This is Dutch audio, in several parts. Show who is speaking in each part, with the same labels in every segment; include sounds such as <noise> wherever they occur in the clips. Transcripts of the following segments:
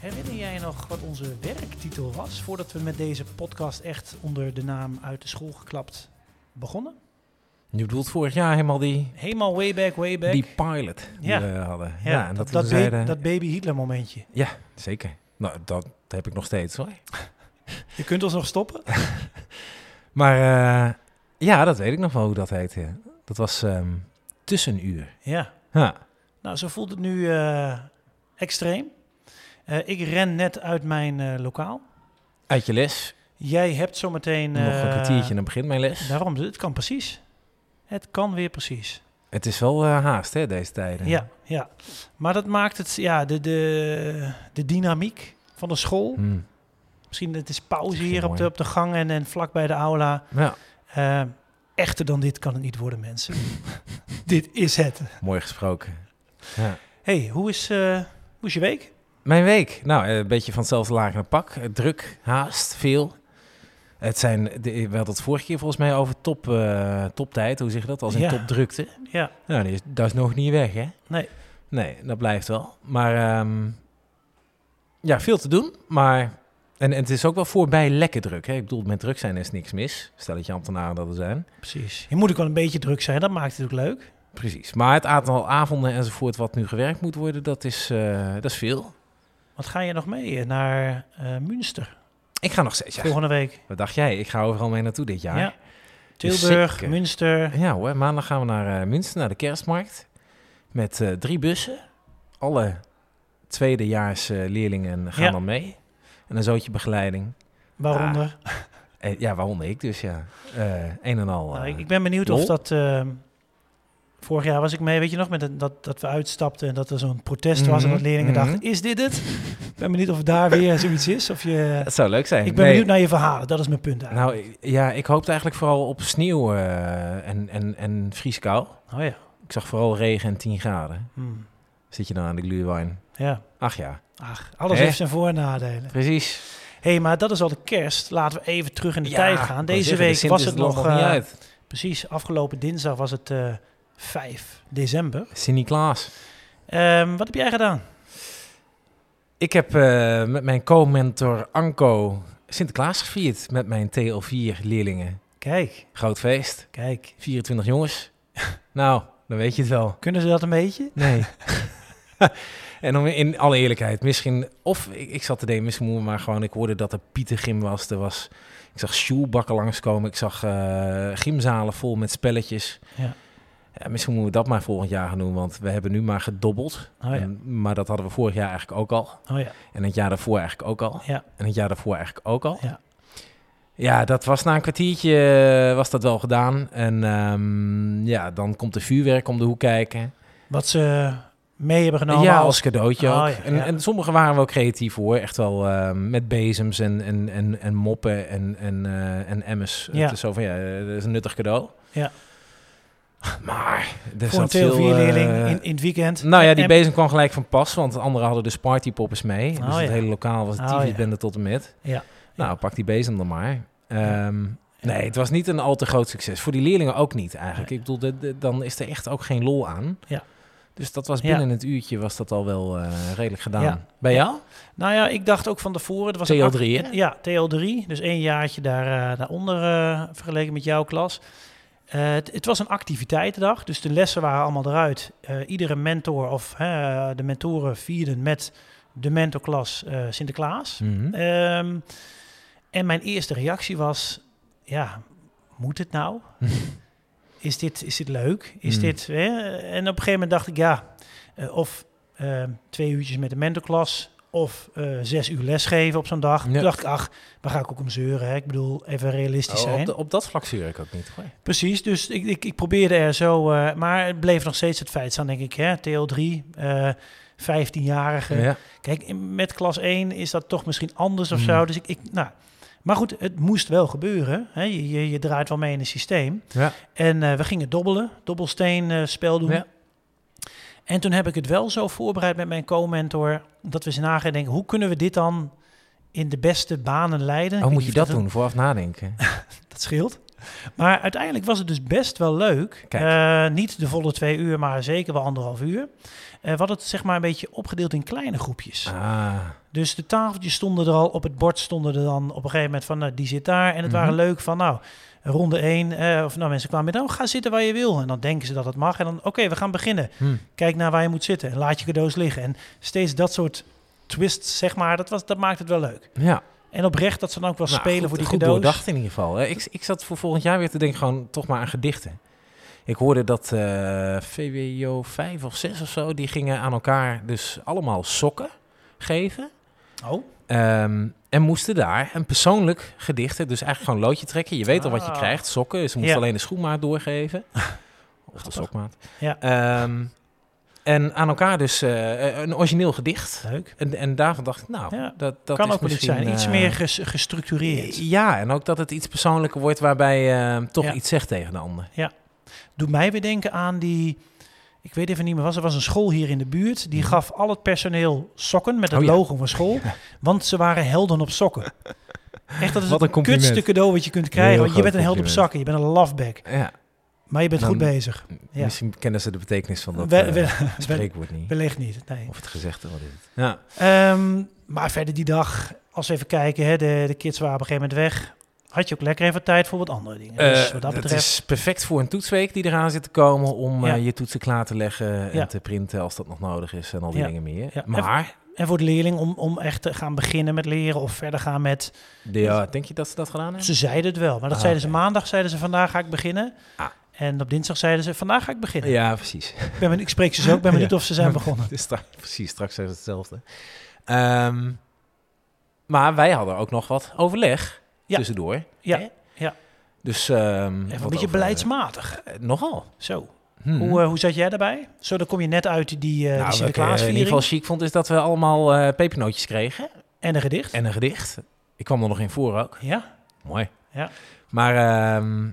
Speaker 1: Herinner jij nog wat onze werktitel was voordat we met deze podcast echt onder de naam uit de school geklapt begonnen?
Speaker 2: Je bedoelt vorig jaar helemaal die,
Speaker 1: Helemaal way back, way back.
Speaker 2: die pilot die
Speaker 1: Ja.
Speaker 2: we hadden. Ja,
Speaker 1: Ja,
Speaker 2: en
Speaker 1: dat,
Speaker 2: dat, we
Speaker 1: dat, ba-
Speaker 2: zeiden,
Speaker 1: dat baby Hitler momentje.
Speaker 2: Ja, zeker. Nou, dat heb ik nog steeds hoor.
Speaker 1: Je kunt ons nog
Speaker 2: <laughs>
Speaker 1: stoppen.
Speaker 2: Maar eh, ja, dat weet ik nog wel hoe dat heette. Dat was ehm, tussenuur.
Speaker 1: Ja,
Speaker 2: Ja.
Speaker 1: nou zo voelt het nu eh, extreem. Eh, ik ren net uit mijn eh, lokaal.
Speaker 2: Uit je les.
Speaker 1: Jij hebt zometeen...
Speaker 2: nog een
Speaker 1: eh, nou-
Speaker 2: kwartiertje en dan begint mijn les.
Speaker 1: Daarom, dus het kan precies. Het kan weer precies.
Speaker 2: Het is wel eh, haast hè, deze tijden.
Speaker 1: Ja, ja. Maar dat maakt het, ja, de, de, de dynamiek van de school.
Speaker 2: Hmm.
Speaker 1: Misschien het is pauze
Speaker 2: Geen
Speaker 1: hier op de,
Speaker 2: mooi.
Speaker 1: op de gang en, en vlak bij de aula.
Speaker 2: Ja,
Speaker 1: Eh, echter dan dit kan het niet worden, mensen.
Speaker 2: <laughs>
Speaker 1: dit is het.
Speaker 2: mooi gesproken. Ja.
Speaker 1: hey, hoe, is, eh, hoe is je week?
Speaker 2: Mijn week. Nou, eh, een beetje van hetzelfde lagere pak. Eh, Druk, haast, veel. Het zijn, de, we hadden het vorige keer volgens mij over top, eh, toptijd. Hoe zeg je dat? Als in
Speaker 1: Ja.
Speaker 2: topdrukte.
Speaker 1: Ja,
Speaker 2: Nou, die is, dat is nog niet weg, hè?
Speaker 1: Nee.
Speaker 2: Nee, dat blijft wel. Maar ehm, ja, veel te doen. Maar, en, en het is ook wel voorbij lekker druk. Hè? Ik bedoel, met druk zijn is niks mis. Stel dat je ambtenaren dat er zijn.
Speaker 1: precies. Je moet ook wel een beetje druk zijn, dat maakt het ook leuk.
Speaker 2: Precies. Maar het aantal avonden enzovoort wat nu gewerkt moet worden, dat is, eh, dat is veel.
Speaker 1: Wat ga je nog mee eh, naar eh, Münster
Speaker 2: Ik ga nog steeds. Ja.
Speaker 1: volgende week?
Speaker 2: Wat dacht jij? Ik ga overal mee naartoe dit jaar.
Speaker 1: Ja.
Speaker 2: Dus
Speaker 1: Tilburg,
Speaker 2: zeker.
Speaker 1: Münster.
Speaker 2: Ja hoor, maandag gaan we naar eh, Münster, naar de kerstmarkt. Met eh, drie bussen. Alle tweedejaars eh, leerlingen gaan
Speaker 1: Ja.
Speaker 2: dan mee. En een zootje begeleiding.
Speaker 1: Waaronder.
Speaker 2: Eh, ja, waaronder ik dus, ja. Eh, een en al.
Speaker 1: Nou,
Speaker 2: eh,
Speaker 1: ik, ik ben benieuwd of
Speaker 2: lol.
Speaker 1: dat... eh, vorig jaar was ik mee, weet je nog, met een- dat, dat we uitstapten en dat er zo'n protest was en
Speaker 2: Mhm,
Speaker 1: dat leerlingen
Speaker 2: mhm.
Speaker 1: dachten, is dit het? ik ben benieuwd of daar weer zoiets is. Of
Speaker 2: <laughs>
Speaker 1: je,
Speaker 2: Het zou leuk zijn.
Speaker 1: ik ben
Speaker 2: Nee,
Speaker 1: benieuwd naar je verhalen, dat is mijn punt eigenlijk.
Speaker 2: Nou, ik- ja, ik hoopte eigenlijk vooral op sneeuw eh, en, en, en vrieskou.
Speaker 1: oh ja.
Speaker 2: Ik zag vooral regen en 10 graden.
Speaker 1: Hmm.
Speaker 2: Zit je dan aan de glühwein?
Speaker 1: Ja,
Speaker 2: Ach ja,
Speaker 1: ach, alles
Speaker 2: Hè?
Speaker 1: heeft zijn voor- en nadelen.
Speaker 2: precies.
Speaker 1: Hé, hey, maar dat is al de kerst. Laten we even terug in de
Speaker 2: Ja,
Speaker 1: tijd
Speaker 2: ik wou
Speaker 1: gaan. Deze
Speaker 2: zeggen, de
Speaker 1: week
Speaker 2: Sint
Speaker 1: was
Speaker 2: is
Speaker 1: het
Speaker 2: er
Speaker 1: nog...
Speaker 2: niet
Speaker 1: eh,
Speaker 2: uit.
Speaker 1: Precies, afgelopen dinsdag was het eh 5 december.
Speaker 2: Sint-Niklaas.
Speaker 1: Ehm, wat heb jij gedaan?
Speaker 2: Ik heb eh, met mijn co-mentor Anko Sinterklaas gevierd met mijn TL4-leerlingen.
Speaker 1: Kijk,
Speaker 2: Groot feest,
Speaker 1: kijk.
Speaker 2: 24 jongens. <laughs> nou, dan weet je het wel.
Speaker 1: Kunnen ze dat een beetje?
Speaker 2: Nee. <laughs> en om in alle eerlijkheid, misschien... Of ik, ik zat te denken, misschien moeten we maar gewoon... Ik hoorde dat er Pietergym was. Er was ik zag shoebakken langskomen. Ik zag eh, gymzalen vol met spelletjes.
Speaker 1: Ja.
Speaker 2: Ja, misschien moeten we dat maar volgend jaar gaan doen. Want we hebben nu maar gedobbeld.
Speaker 1: Oh ja,
Speaker 2: En- maar dat hadden we vorig jaar eigenlijk ook al.
Speaker 1: oh ja.
Speaker 2: En het jaar daarvoor eigenlijk ook al.
Speaker 1: Ja.
Speaker 2: En het jaar daarvoor eigenlijk ook al.
Speaker 1: Ja.
Speaker 2: Ja, dat was na een kwartiertje eh, was dat wel gedaan. En ehm, ja, dan komt de vuurwerk om de hoek kijken
Speaker 1: Wat ze eh, mee hebben genomen
Speaker 2: ja,
Speaker 1: als...
Speaker 2: als cadeautje
Speaker 1: Oh,
Speaker 2: ook.
Speaker 1: ja,
Speaker 2: en,
Speaker 1: ja.
Speaker 2: en sommigen waren wel creatief hoor. Echt wel eh, met bezems en, en, en, en moppen en, en, eh, en emmers.
Speaker 1: Ja.
Speaker 2: Het is zo van, ja, eh, dat is een nuttig cadeau.
Speaker 1: Ja.
Speaker 2: Maar er
Speaker 1: voor een
Speaker 2: zat veel...
Speaker 1: TL4-leerling
Speaker 2: eh,
Speaker 1: in, in het weekend.
Speaker 2: nou ja, die
Speaker 1: En-
Speaker 2: bezem kwam gelijk van pas, want de anderen hadden dus partypoppers mee.
Speaker 1: Oh,
Speaker 2: dus het
Speaker 1: ja.
Speaker 2: hele lokaal was
Speaker 1: Oh,
Speaker 2: het tyfusbende tot en met.
Speaker 1: Ja.
Speaker 2: Nou,
Speaker 1: Ja.
Speaker 2: pak die bezem dan maar. Ehm,
Speaker 1: Ja.
Speaker 2: Nee, het was niet een al te groot succes. Voor die leerlingen ook niet eigenlijk. Ik bedoel, de- de- dan is er echt ook geen lol aan.
Speaker 1: Ja.
Speaker 2: Dus dat was
Speaker 1: Ja.
Speaker 2: binnen het uurtje was dat al wel eh, redelijk gedaan.
Speaker 1: Ja.
Speaker 2: Bij jou?
Speaker 1: Nou ja, ik dacht ook van tevoren... Het was een
Speaker 2: TL3, hè?
Speaker 1: Ja, TL3. Dus één jaartje daar, eh, daaronder eh, vergeleken met jouw klas. Eh, het, het was een activiteitendag, dus de lessen waren allemaal eruit. Eh, iedere mentor of eh, de mentoren vierden met de mentorklas eh, Sinterklaas.
Speaker 2: Mhm.
Speaker 1: Ehm, en mijn eerste reactie was, ja, moet het
Speaker 2: <laughs>
Speaker 1: nou? is, dit, is dit leuk? Is
Speaker 2: Mm.
Speaker 1: dit, ehm, hè? En op een gegeven moment dacht ik, ja, eh, of eh, twee uurtjes met de mentorklas... of eh, zes uur lesgeven op zo'n dag.
Speaker 2: Ja.
Speaker 1: Toen dacht ik, ach, waar ga ik ook om zeuren? Hè? Ik bedoel, even realistisch
Speaker 2: Oh,
Speaker 1: zijn.
Speaker 2: op, de- op dat vlak zeur ik ook niet. Goh.
Speaker 1: Precies, dus ik, ik, ik probeerde er zo, eh, maar het bleef nog steeds het feit staan, denk ik. Hè? TL3, eh 15-jarige.
Speaker 2: Ja.
Speaker 1: Kijk, in- met klas 1 is dat toch misschien anders of
Speaker 2: Hmm.
Speaker 1: zo. Dus ik, ik, nou. Maar goed, het moest wel gebeuren. Hè? Je, je, je draait wel mee in het systeem.
Speaker 2: Ja.
Speaker 1: En eh, we gingen dobbelen, dobbelsteen eh, spel doen.
Speaker 2: Ja.
Speaker 1: En toen heb ik het wel zo voorbereid met mijn co-mentor... dat we eens na gaan denken, hoe kunnen we dit dan in de beste banen leiden? Ik
Speaker 2: Oh,
Speaker 1: weet
Speaker 2: moet
Speaker 1: niet
Speaker 2: je
Speaker 1: of
Speaker 2: dat
Speaker 1: een-
Speaker 2: doen? Vooraf nadenken.
Speaker 1: <laughs> dat scheelt. Maar uiteindelijk was het dus best wel leuk.
Speaker 2: Kijk.
Speaker 1: Eh, niet de volle twee uur, maar zeker wel anderhalf uur. Eh we hadden het zeg maar een beetje opgedeeld in kleine groepjes.
Speaker 2: Ah,
Speaker 1: Dus de tafeltjes stonden er al, op het bord stonden er dan op een gegeven moment van, nou, die zit daar. En het
Speaker 2: Mhm.
Speaker 1: waren leuk van, nou, ronde één, eh, of nou, mensen kwamen met, nou, ga zitten waar je wil. En dan denken ze dat het mag. En dan, oké, we gaan beginnen.
Speaker 2: hm.
Speaker 1: Kijk naar waar je moet zitten en laat je cadeaus liggen. En steeds dat soort twists, zeg maar, dat, was, dat maakt het wel leuk.
Speaker 2: ja.
Speaker 1: En oprecht dat ze dan ook wel
Speaker 2: Nou,
Speaker 1: spelen
Speaker 2: goed-
Speaker 1: voor die
Speaker 2: goed
Speaker 1: cadeaus.
Speaker 2: doordacht in ieder geval. hè. Ik, ik zat voor volgend jaar weer te denken, gewoon toch maar aan gedichten. Ik hoorde dat eh, VWO 5 of 6 of zo, die gingen aan elkaar dus allemaal sokken geven.
Speaker 1: Oh,
Speaker 2: Ehm, en moesten daar een persoonlijk gedicht, hè, dus eigenlijk gewoon een loodje trekken. Je weet al wat je
Speaker 1: Ah.
Speaker 2: krijgt, sokken. Ze moesten
Speaker 1: Ja.
Speaker 2: alleen de schoenmaat
Speaker 1: <laughs>
Speaker 2: doorgeven. of de sokmaat.
Speaker 1: Ja.
Speaker 2: Ehm, en aan elkaar dus eh, een origineel gedicht.
Speaker 1: leuk.
Speaker 2: En, en daarvan dacht ik, nou,
Speaker 1: Ja,
Speaker 2: dat, dat
Speaker 1: kan
Speaker 2: is
Speaker 1: ook wel iets
Speaker 2: misschien,
Speaker 1: zijn. Iets
Speaker 2: eh,
Speaker 1: meer ges- gestructureerd.
Speaker 2: ja, en ook dat het iets persoonlijker wordt waarbij je toch
Speaker 1: Ja.
Speaker 2: iets zegt tegen de ander.
Speaker 1: Doet mij weer denken aan die. Ik weet even niet meer was. Er was een school hier in de buurt. Die gaf al het personeel sokken met het
Speaker 2: Mhm. Oh <laughs> ja.
Speaker 1: logo van school. Want ze waren helden op sokken. Echt, dat is
Speaker 2: Wat
Speaker 1: het
Speaker 2: een compliment.
Speaker 1: kutste cadeau wat je kunt krijgen.
Speaker 2: Heel
Speaker 1: Want je
Speaker 2: groot
Speaker 1: bent een held op
Speaker 2: compliment.
Speaker 1: zakken. Je bent een lafback.
Speaker 2: Ja,
Speaker 1: Maar je bent
Speaker 2: Dan-
Speaker 1: goed bezig. Ja.
Speaker 2: misschien kennen ze de betekenis van dat
Speaker 1: We-
Speaker 2: eh,
Speaker 1: we- <laughs>
Speaker 2: spreekwoord niet.
Speaker 1: Wellicht niet. Nee.
Speaker 2: Of het gezegde wat is het. Ja.
Speaker 1: Ehm, maar verder die dag, als we even kijken, hè, de, de kids waren op een gegeven moment weg. Had je ook lekker even tijd voor wat andere dingen. dus
Speaker 2: Eh,
Speaker 1: wat dat
Speaker 2: het
Speaker 1: betreft.
Speaker 2: is perfect voor een toetsweek die eraan zit te komen om
Speaker 1: Ja.
Speaker 2: eh, je toetsen klaar te leggen en
Speaker 1: Ja.
Speaker 2: te printen als dat nog nodig is en al die
Speaker 1: Ja.
Speaker 2: dingen meer.
Speaker 1: Ja.
Speaker 2: Maar,
Speaker 1: En voor de leerling om, om echt te gaan beginnen met leren of verder gaan met
Speaker 2: de- ja, denk je dat ze dat gedaan hebben?
Speaker 1: Ze zeiden het wel, maar dat
Speaker 2: Ah,
Speaker 1: zeiden ze
Speaker 2: oké.
Speaker 1: maandag, zeiden ze vandaag ga ik beginnen.
Speaker 2: Ah.
Speaker 1: En op dinsdag zeiden ze vandaag ga ik beginnen.
Speaker 2: Ja, precies. <laughs>
Speaker 1: Ik, ben, benieu- ik spreek ze zo, ik ben benieuwd of ze zijn begonnen.
Speaker 2: Dus daar- precies, straks is het hetzelfde. Ehm, maar wij hadden ook nog wat overleg
Speaker 1: Ja.
Speaker 2: tussendoor.
Speaker 1: Ja,
Speaker 2: Hè?
Speaker 1: ja.
Speaker 2: Dus ehm,
Speaker 1: Even een
Speaker 2: wat
Speaker 1: beetje
Speaker 2: over-
Speaker 1: beleidsmatig.
Speaker 2: eh, nogal.
Speaker 1: Zo,
Speaker 2: Hmm.
Speaker 1: hoe, eh, hoe zat jij daarbij? Zo, dan kom je net uit die, eh die
Speaker 2: Nou, wat ik, eh, in
Speaker 1: Sinterklaasviering
Speaker 2: ieder geval chic vond is dat we allemaal eh, pepernootjes kregen
Speaker 1: en een gedicht.
Speaker 2: en een gedicht. Ik kwam er nog in voor ook.
Speaker 1: Ja,
Speaker 2: Mooi.
Speaker 1: Ja.
Speaker 2: Maar ehm,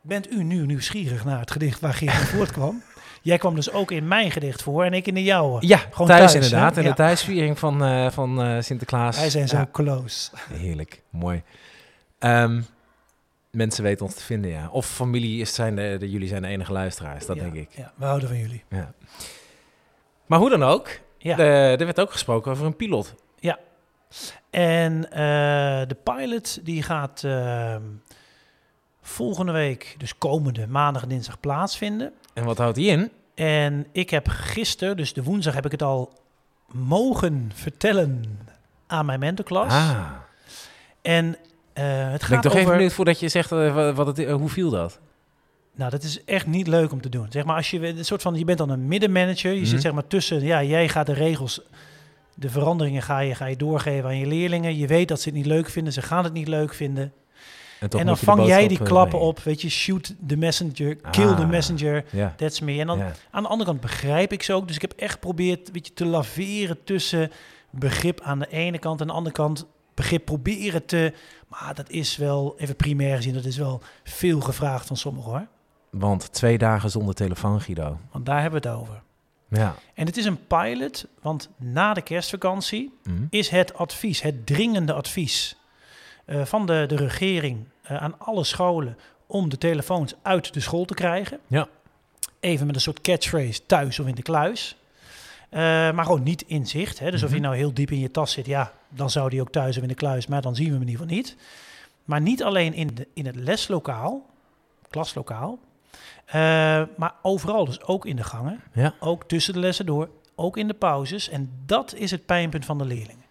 Speaker 1: bent u nu nieuwsgierig naar het gedicht waar Geert
Speaker 2: <laughs>
Speaker 1: van voortkwam? Jij kwam dus ook in mijn gedicht voor en ik in de jouwe.
Speaker 2: ja,
Speaker 1: Gewoon
Speaker 2: thuis,
Speaker 1: thuis,
Speaker 2: inderdaad.
Speaker 1: hè?
Speaker 2: En
Speaker 1: Ja.
Speaker 2: de thuisviering van, eh, van eh, Sinterklaas.
Speaker 1: Wij zijn zo
Speaker 2: Ja,
Speaker 1: close.
Speaker 2: heerlijk, mooi. Ehm, mensen weten ons te vinden, ja. Of familie, is, zijn de, de- jullie zijn de enige luisteraars, dat
Speaker 1: Ja,
Speaker 2: denk ik.
Speaker 1: Ja, we houden van jullie.
Speaker 2: Ja. Maar hoe dan ook,
Speaker 1: Ja.
Speaker 2: de- er werd ook gesproken over een piloot.
Speaker 1: En eh, de pilot die gaat eh, volgende week, dus komende maandag en dinsdag, plaatsvinden.
Speaker 2: En wat houdt die in?
Speaker 1: En ik heb gisteren, dus de woensdag, heb ik het al mogen vertellen aan mijn mentorklas.
Speaker 2: Ah,
Speaker 1: En eh, het
Speaker 2: ben ik
Speaker 1: gaat
Speaker 2: toch even
Speaker 1: over...
Speaker 2: benieuwd voordat je zegt eh, wa- wat het, eh, hoe viel dat?
Speaker 1: Nou, dat is echt niet leuk om te doen. Zeg maar, als je een soort van, je bent dan een middenmanager. Je
Speaker 2: Mhm.
Speaker 1: zit zeg maar tussen, ja, jij gaat de regels, de veranderingen ga je, ga je doorgeven aan je leerlingen. Je weet dat ze het niet leuk vinden, ze gaan het niet leuk vinden.
Speaker 2: toch
Speaker 1: en dan
Speaker 2: moet je de
Speaker 1: vang jij
Speaker 2: boodschap,
Speaker 1: die
Speaker 2: eh,
Speaker 1: klappen
Speaker 2: mee.
Speaker 1: op, weet je, shoot the messenger, kill the
Speaker 2: Ah.
Speaker 1: messenger,
Speaker 2: Ja.
Speaker 1: that's me. En dan
Speaker 2: ja.
Speaker 1: aan de andere kant begrijp ik ze ook, dus ik heb echt geprobeerd weet je, te laveren tussen begrip aan de ene kant en aan de andere kant begrip proberen te... Maar dat is wel, even primair gezien, dat is wel veel gevraagd van sommigen hoor.
Speaker 2: Want twee dagen zonder telefoon, Guido.
Speaker 1: Want daar hebben we het over.
Speaker 2: Ja.
Speaker 1: En het is een pilot, want na de kerstvakantie
Speaker 2: Hm.
Speaker 1: is het advies, het dringende advies eh, van de, de regering eh, aan alle scholen om de telefoons uit de school te krijgen.
Speaker 2: Ja.
Speaker 1: Even met een soort catchphrase thuis of in de kluis. Eh, maar gewoon niet in zicht. Hè? Dus of
Speaker 2: Mhm.
Speaker 1: je nou heel diep in je tas zit, ja, dan zou die ook thuis of in de kluis, maar dan zien we hem in ieder geval niet. Maar niet alleen in, de, in het leslokaal, klaslokaal, eh, maar overal, dus ook in de gangen,
Speaker 2: Ja.
Speaker 1: ook tussen de lessen door, ook in de pauzes. En dat is het pijnpunt van de leerlingen.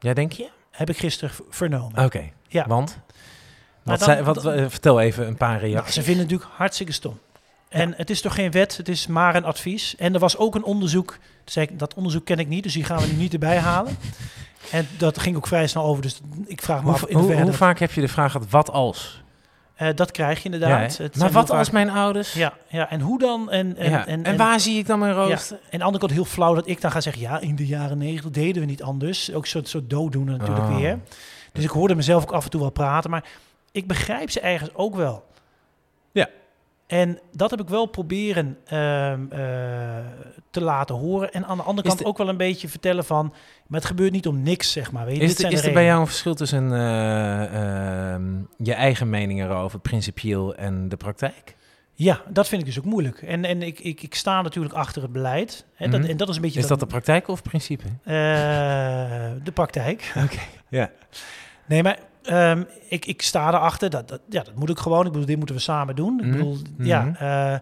Speaker 2: Ja, denk je?
Speaker 1: Heb ik gisteren v- vernomen.
Speaker 2: Oké.
Speaker 1: Ja.
Speaker 2: Want? Wat
Speaker 1: dan-
Speaker 2: zei- wat,
Speaker 1: dan-
Speaker 2: eh, vertel even een paar
Speaker 1: Nou,
Speaker 2: reacties.
Speaker 1: ze vinden het natuurlijk hartstikke stom. Eh, En het is toch geen wet, het is maar een advies. En er was ook een onderzoek, toen zei ik, dat onderzoek ken ik niet, dus die gaan we nu niet erbij
Speaker 2: <laughs>
Speaker 1: halen. En dat ging ook vrij snel over, dus ik vraag me
Speaker 2: Hoe,
Speaker 1: af in
Speaker 2: hoe,
Speaker 1: hoeverre
Speaker 2: hoe
Speaker 1: dat-
Speaker 2: vaak heb je de vraag gehad, wat als?
Speaker 1: eh, dat krijg je
Speaker 2: Ja, hè?
Speaker 1: inderdaad. Het
Speaker 2: maar
Speaker 1: zijn
Speaker 2: wat
Speaker 1: heel
Speaker 2: als
Speaker 1: vaak-
Speaker 2: mijn ouders?
Speaker 1: Ja, ja, en hoe dan? En, en,
Speaker 2: Ja. En,
Speaker 1: en,
Speaker 2: waar zie ik dan mijn rooster?
Speaker 1: en aan de andere kant heel flauw dat ik dan ga zeggen... ja, in de jaren negentig deden we niet anders. Ook een soort, soort dooddoener natuurlijk
Speaker 2: Oh.
Speaker 1: weer. Dus ik hoorde mezelf ook af en toe wel praten. Maar ik begrijp ze ergens ook wel.
Speaker 2: Ja.
Speaker 1: En dat heb ik wel proberen ehm, eh, te laten horen. En aan de andere
Speaker 2: Is
Speaker 1: kant
Speaker 2: de-
Speaker 1: ook wel een beetje vertellen van... maar het gebeurt niet om niks, zeg maar. Weet je?
Speaker 2: Is,
Speaker 1: Dit
Speaker 2: de-
Speaker 1: zijn
Speaker 2: is
Speaker 1: de
Speaker 2: er bij
Speaker 1: redenen.
Speaker 2: jou een verschil tussen eh, ehm, je eigen mening erover, principieel, en de praktijk?
Speaker 1: Ja, dat vind ik dus ook moeilijk. En, en ik, ik, ik sta natuurlijk achter het beleid. Hè, dat,
Speaker 2: Mhm.
Speaker 1: En dat is een beetje...
Speaker 2: Is dat de praktijk of principe?
Speaker 1: Eh, de praktijk. Oké.
Speaker 2: ja.
Speaker 1: Nee, maar ehm, ik, ik sta erachter. Dat, dat, ja, dat moet ik gewoon. Ik bedoel, dit moeten we samen doen. Ik
Speaker 2: Mhm.
Speaker 1: bedoel, ja, eh,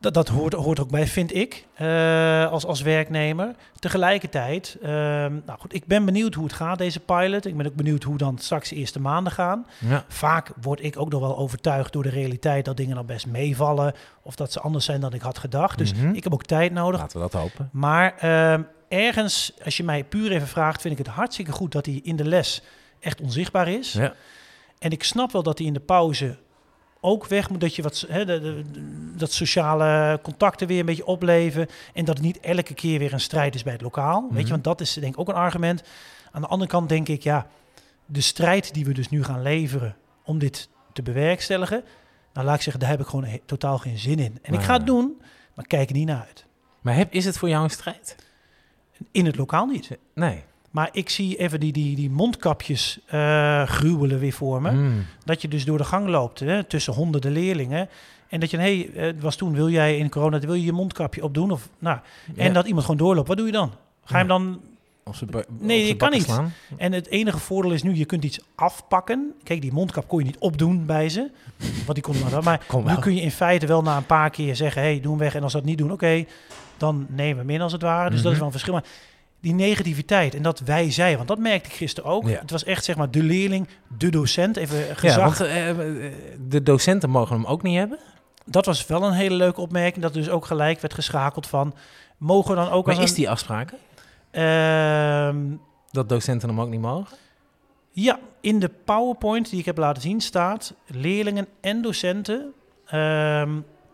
Speaker 1: dat, dat hoort, hoort ook bij, vind ik, eh, als, als werknemer. Tegelijkertijd, ehm, nou goed, ik ben benieuwd hoe het gaat, deze pilot. Ik ben ook benieuwd hoe dan straks de eerste maanden gaan.
Speaker 2: Ja.
Speaker 1: Vaak word ik ook nog wel overtuigd door de realiteit dat dingen dan best meevallen. Of dat ze anders zijn dan ik had gedacht. Dus
Speaker 2: Mhm.
Speaker 1: ik heb ook tijd nodig.
Speaker 2: Laten we dat hopen.
Speaker 1: Maar ehm, ergens, als je mij puur even vraagt, vind ik het hartstikke goed dat hij in de les echt onzichtbaar is.
Speaker 2: Ja.
Speaker 1: En ik snap wel dat hij in de pauze ook weg moet, dat je wat, so- hè, de- de- de- dat sociale contacten weer een beetje opleven. En dat het niet elke keer weer een strijd is bij het lokaal. Weet
Speaker 2: Mhm.
Speaker 1: je, want dat is denk ik ook een argument. Aan de andere kant denk ik, ja, de strijd die we dus nu gaan leveren om dit te bewerkstelligen. Nou, laat ik zeggen, daar heb ik gewoon he- totaal geen zin in. En ik ga het
Speaker 2: Nee.
Speaker 1: doen, maar ik kijk er niet naar uit.
Speaker 2: Maar heb, is het voor jou een strijd?
Speaker 1: In het lokaal niet.
Speaker 2: Nee.
Speaker 1: Maar ik zie even die, die, die mondkapjes eh, gruwelen weer voor me.
Speaker 2: Mm.
Speaker 1: Dat je dus door de gang loopt hè, tussen honderden leerlingen. En dat je, hé, hey, eh, het was toen, wil jij in corona, wil je je mondkapje opdoen? Of, nou,
Speaker 2: Ja.
Speaker 1: En dat iemand gewoon doorloopt. Wat doe je dan? Ga je hem dan...
Speaker 2: Op z'n ba-
Speaker 1: Nee,
Speaker 2: op z'n
Speaker 1: je kan
Speaker 2: bakken
Speaker 1: niet.
Speaker 2: slaan?
Speaker 1: En het enige voordeel is nu, je kunt iets afpakken. Kijk, die mondkap kon je niet opdoen bij ze. Want die kon er maar wel. Maar
Speaker 2: Kom
Speaker 1: nu
Speaker 2: wel.
Speaker 1: kun je in feite wel na een paar keer zeggen, hé, hey, doe hem weg. En als ze dat niet doen, oké, dan nemen we hem in als het ware. Dus dat
Speaker 2: Mhm.
Speaker 1: is wel een verschil. Maar die negativiteit en dat wij zij, want dat merkte ik gisteren ook.
Speaker 2: Ja.
Speaker 1: Het was echt zeg maar de leerling, de docent, even gezag.
Speaker 2: Ja, want eh, eh, de docenten mogen hem ook niet hebben.
Speaker 1: Dat was wel een hele leuke opmerking, dat dus ook gelijk werd geschakeld van, mogen we dan ook...
Speaker 2: Maar
Speaker 1: als
Speaker 2: is die afspraak? hè?
Speaker 1: een- Ehm,
Speaker 2: Dat docenten hem ook niet mogen?
Speaker 1: Ja, in de PowerPoint die ik heb laten zien staat leerlingen en docenten ehm,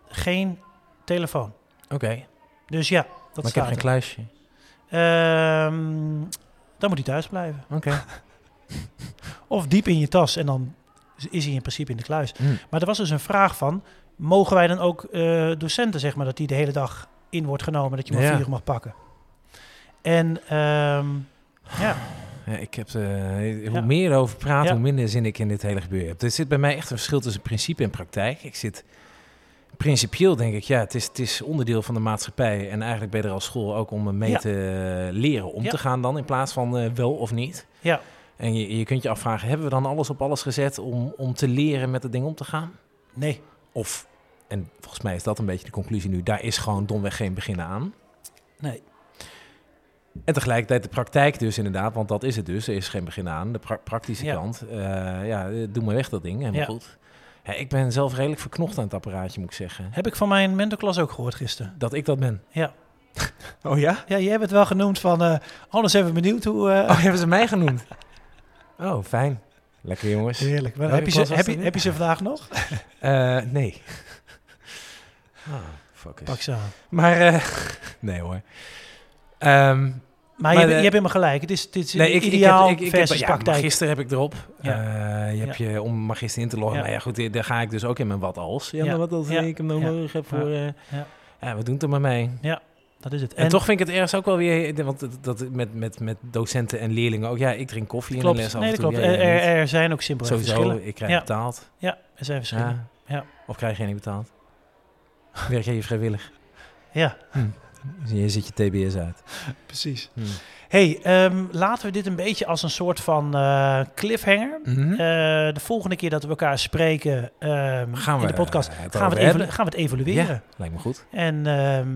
Speaker 1: geen telefoon.
Speaker 2: Oké,
Speaker 1: Dus ja, dat
Speaker 2: maar ik heb
Speaker 1: staat
Speaker 2: geen
Speaker 1: er.
Speaker 2: kluisje.
Speaker 1: Ehm, dan moet hij thuis blijven.
Speaker 2: Oké.
Speaker 1: Of diep in je tas en dan is hij in principe in de kluis.
Speaker 2: Mm.
Speaker 1: Maar er was dus een vraag van, mogen wij dan ook eh, docenten, zeg maar, dat die de hele dag in wordt genomen, dat je maar
Speaker 2: Ja.
Speaker 1: vier uur mag pakken? En ehm, ja,
Speaker 2: Ja, ik heb, eh, hoe
Speaker 1: Ja.
Speaker 2: meer erover praat,
Speaker 1: Ja.
Speaker 2: hoe minder zin ik in dit hele gebeuren heb. Er zit bij mij echt een verschil tussen principe en praktijk. Ik zit principieel, denk ik, ja, het is, het is onderdeel van de maatschappij. En eigenlijk ben je er als school ook om mee
Speaker 1: Ja.
Speaker 2: te leren om
Speaker 1: Ja.
Speaker 2: te gaan dan, in plaats van eh, wel of niet.
Speaker 1: ja,
Speaker 2: En je, je kunt je afvragen, hebben we dan alles op alles gezet om, om te leren met het ding om te gaan?
Speaker 1: nee,
Speaker 2: Of, en volgens mij is dat een beetje de conclusie nu, daar is gewoon domweg geen begin aan.
Speaker 1: nee.
Speaker 2: En tegelijkertijd de praktijk dus inderdaad, want dat is het dus. Er is geen begin aan. De pra- praktische
Speaker 1: Ja.
Speaker 2: kant. eh, ja, eh, doe maar weg dat ding. Helemaal
Speaker 1: Ja.
Speaker 2: goed. Ja, ik ben zelf redelijk verknocht aan het apparaatje, moet ik zeggen.
Speaker 1: Heb ik van mijn mentorklas ook gehoord gisteren.
Speaker 2: Dat ik dat ben.
Speaker 1: Ja.
Speaker 2: <laughs> Oh ja?
Speaker 1: Ja, jij hebt het wel genoemd van, eh anders zijn we benieuwd hoe... eh,
Speaker 2: Oh, hebben ze mij genoemd? Oh, fijn. Lekker jongens.
Speaker 1: Heerlijk. Maar
Speaker 2: Welke
Speaker 1: heb, je
Speaker 2: klas
Speaker 1: ze,
Speaker 2: was
Speaker 1: heb,
Speaker 2: dat
Speaker 1: je,
Speaker 2: nu?
Speaker 1: heb je ze vandaag nog?
Speaker 2: Eh, nee. Ah, fuck is.
Speaker 1: Pak ze aan.
Speaker 2: Maar, eh, <laughs> nee hoor. Ehm,
Speaker 1: Maar, je,
Speaker 2: Maar
Speaker 1: hebt-
Speaker 2: de-
Speaker 1: je hebt helemaal gelijk. Het is, het is
Speaker 2: Nee, ik,
Speaker 1: eh, ideaal
Speaker 2: ik heb, ik, ik
Speaker 1: versus
Speaker 2: heb, ja,
Speaker 1: praktijk.
Speaker 2: magister heb ik erop.
Speaker 1: Ja.
Speaker 2: Eh, je hebt je om magister in te loggen.
Speaker 1: Ja.
Speaker 2: Maar ja, goed, daar ga ik dus ook in mijn wat als. Ja,
Speaker 1: Ja.
Speaker 2: maar wat als
Speaker 1: Ja.
Speaker 2: ik hem nou
Speaker 1: Ja.
Speaker 2: nodig heb voor... eh,
Speaker 1: Ja.
Speaker 2: ja. we doen het er maar mee.
Speaker 1: dat is het.
Speaker 2: En, toch vind ik het ergens ook wel weer... Want dat, dat met, met, met docenten en leerlingen ook... Ja, ik drink koffie
Speaker 1: klopt.
Speaker 2: in de les af
Speaker 1: nee,
Speaker 2: en
Speaker 1: dat
Speaker 2: toe.
Speaker 1: klopt.
Speaker 2: Ja,
Speaker 1: Er,
Speaker 2: jij
Speaker 1: er,
Speaker 2: niet.
Speaker 1: er zijn ook simpele
Speaker 2: Sowieso,
Speaker 1: verschillen.
Speaker 2: ik krijg
Speaker 1: Ja.
Speaker 2: betaald.
Speaker 1: Ja, er zijn verschillen. Ja.
Speaker 2: Ja.
Speaker 1: Ja.
Speaker 2: Of krijg jij niet
Speaker 1: <laughs>
Speaker 2: betaald? Werk jij je vrijwillig? Dus Je zit je TBS uit.
Speaker 1: precies.
Speaker 2: Hm.
Speaker 1: hey, ehm, laten we dit een beetje als een soort van eh, cliffhanger.
Speaker 2: Mhm.
Speaker 1: Eh, de volgende keer dat we elkaar spreken ehm,
Speaker 2: gaan we
Speaker 1: in de podcast,
Speaker 2: eh,
Speaker 1: gaan we,
Speaker 2: over
Speaker 1: het evalu-
Speaker 2: hebben?
Speaker 1: gaan we het evalueren.
Speaker 2: Lijkt me goed.
Speaker 1: En ehm,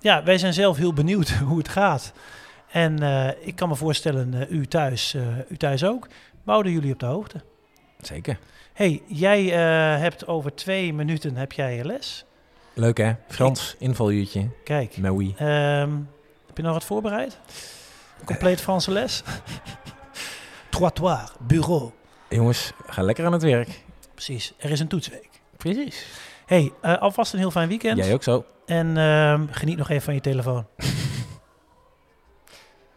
Speaker 1: ja, wij zijn zelf heel benieuwd <laughs> hoe het gaat. En eh, ik kan me voorstellen, eh, u, thuis, eh, u thuis ook. We houden jullie op de hoogte.
Speaker 2: Zeker.
Speaker 1: hey, jij eh, hebt over twee minuten heb jij je les.
Speaker 2: Leuk hè? Frans, invaluurtje.
Speaker 1: Kijk,
Speaker 2: Maui.
Speaker 1: ehm, heb je nog wat voorbereid? Compleet Franse les? <laughs> Trottoir, bureau.
Speaker 2: Jongens, ga lekker aan het werk.
Speaker 1: Precies, er is een toetsweek.
Speaker 2: Precies.
Speaker 1: hey, eh, alvast een heel fijn weekend.
Speaker 2: Jij ook zo.
Speaker 1: En ehm, geniet nog even van je telefoon.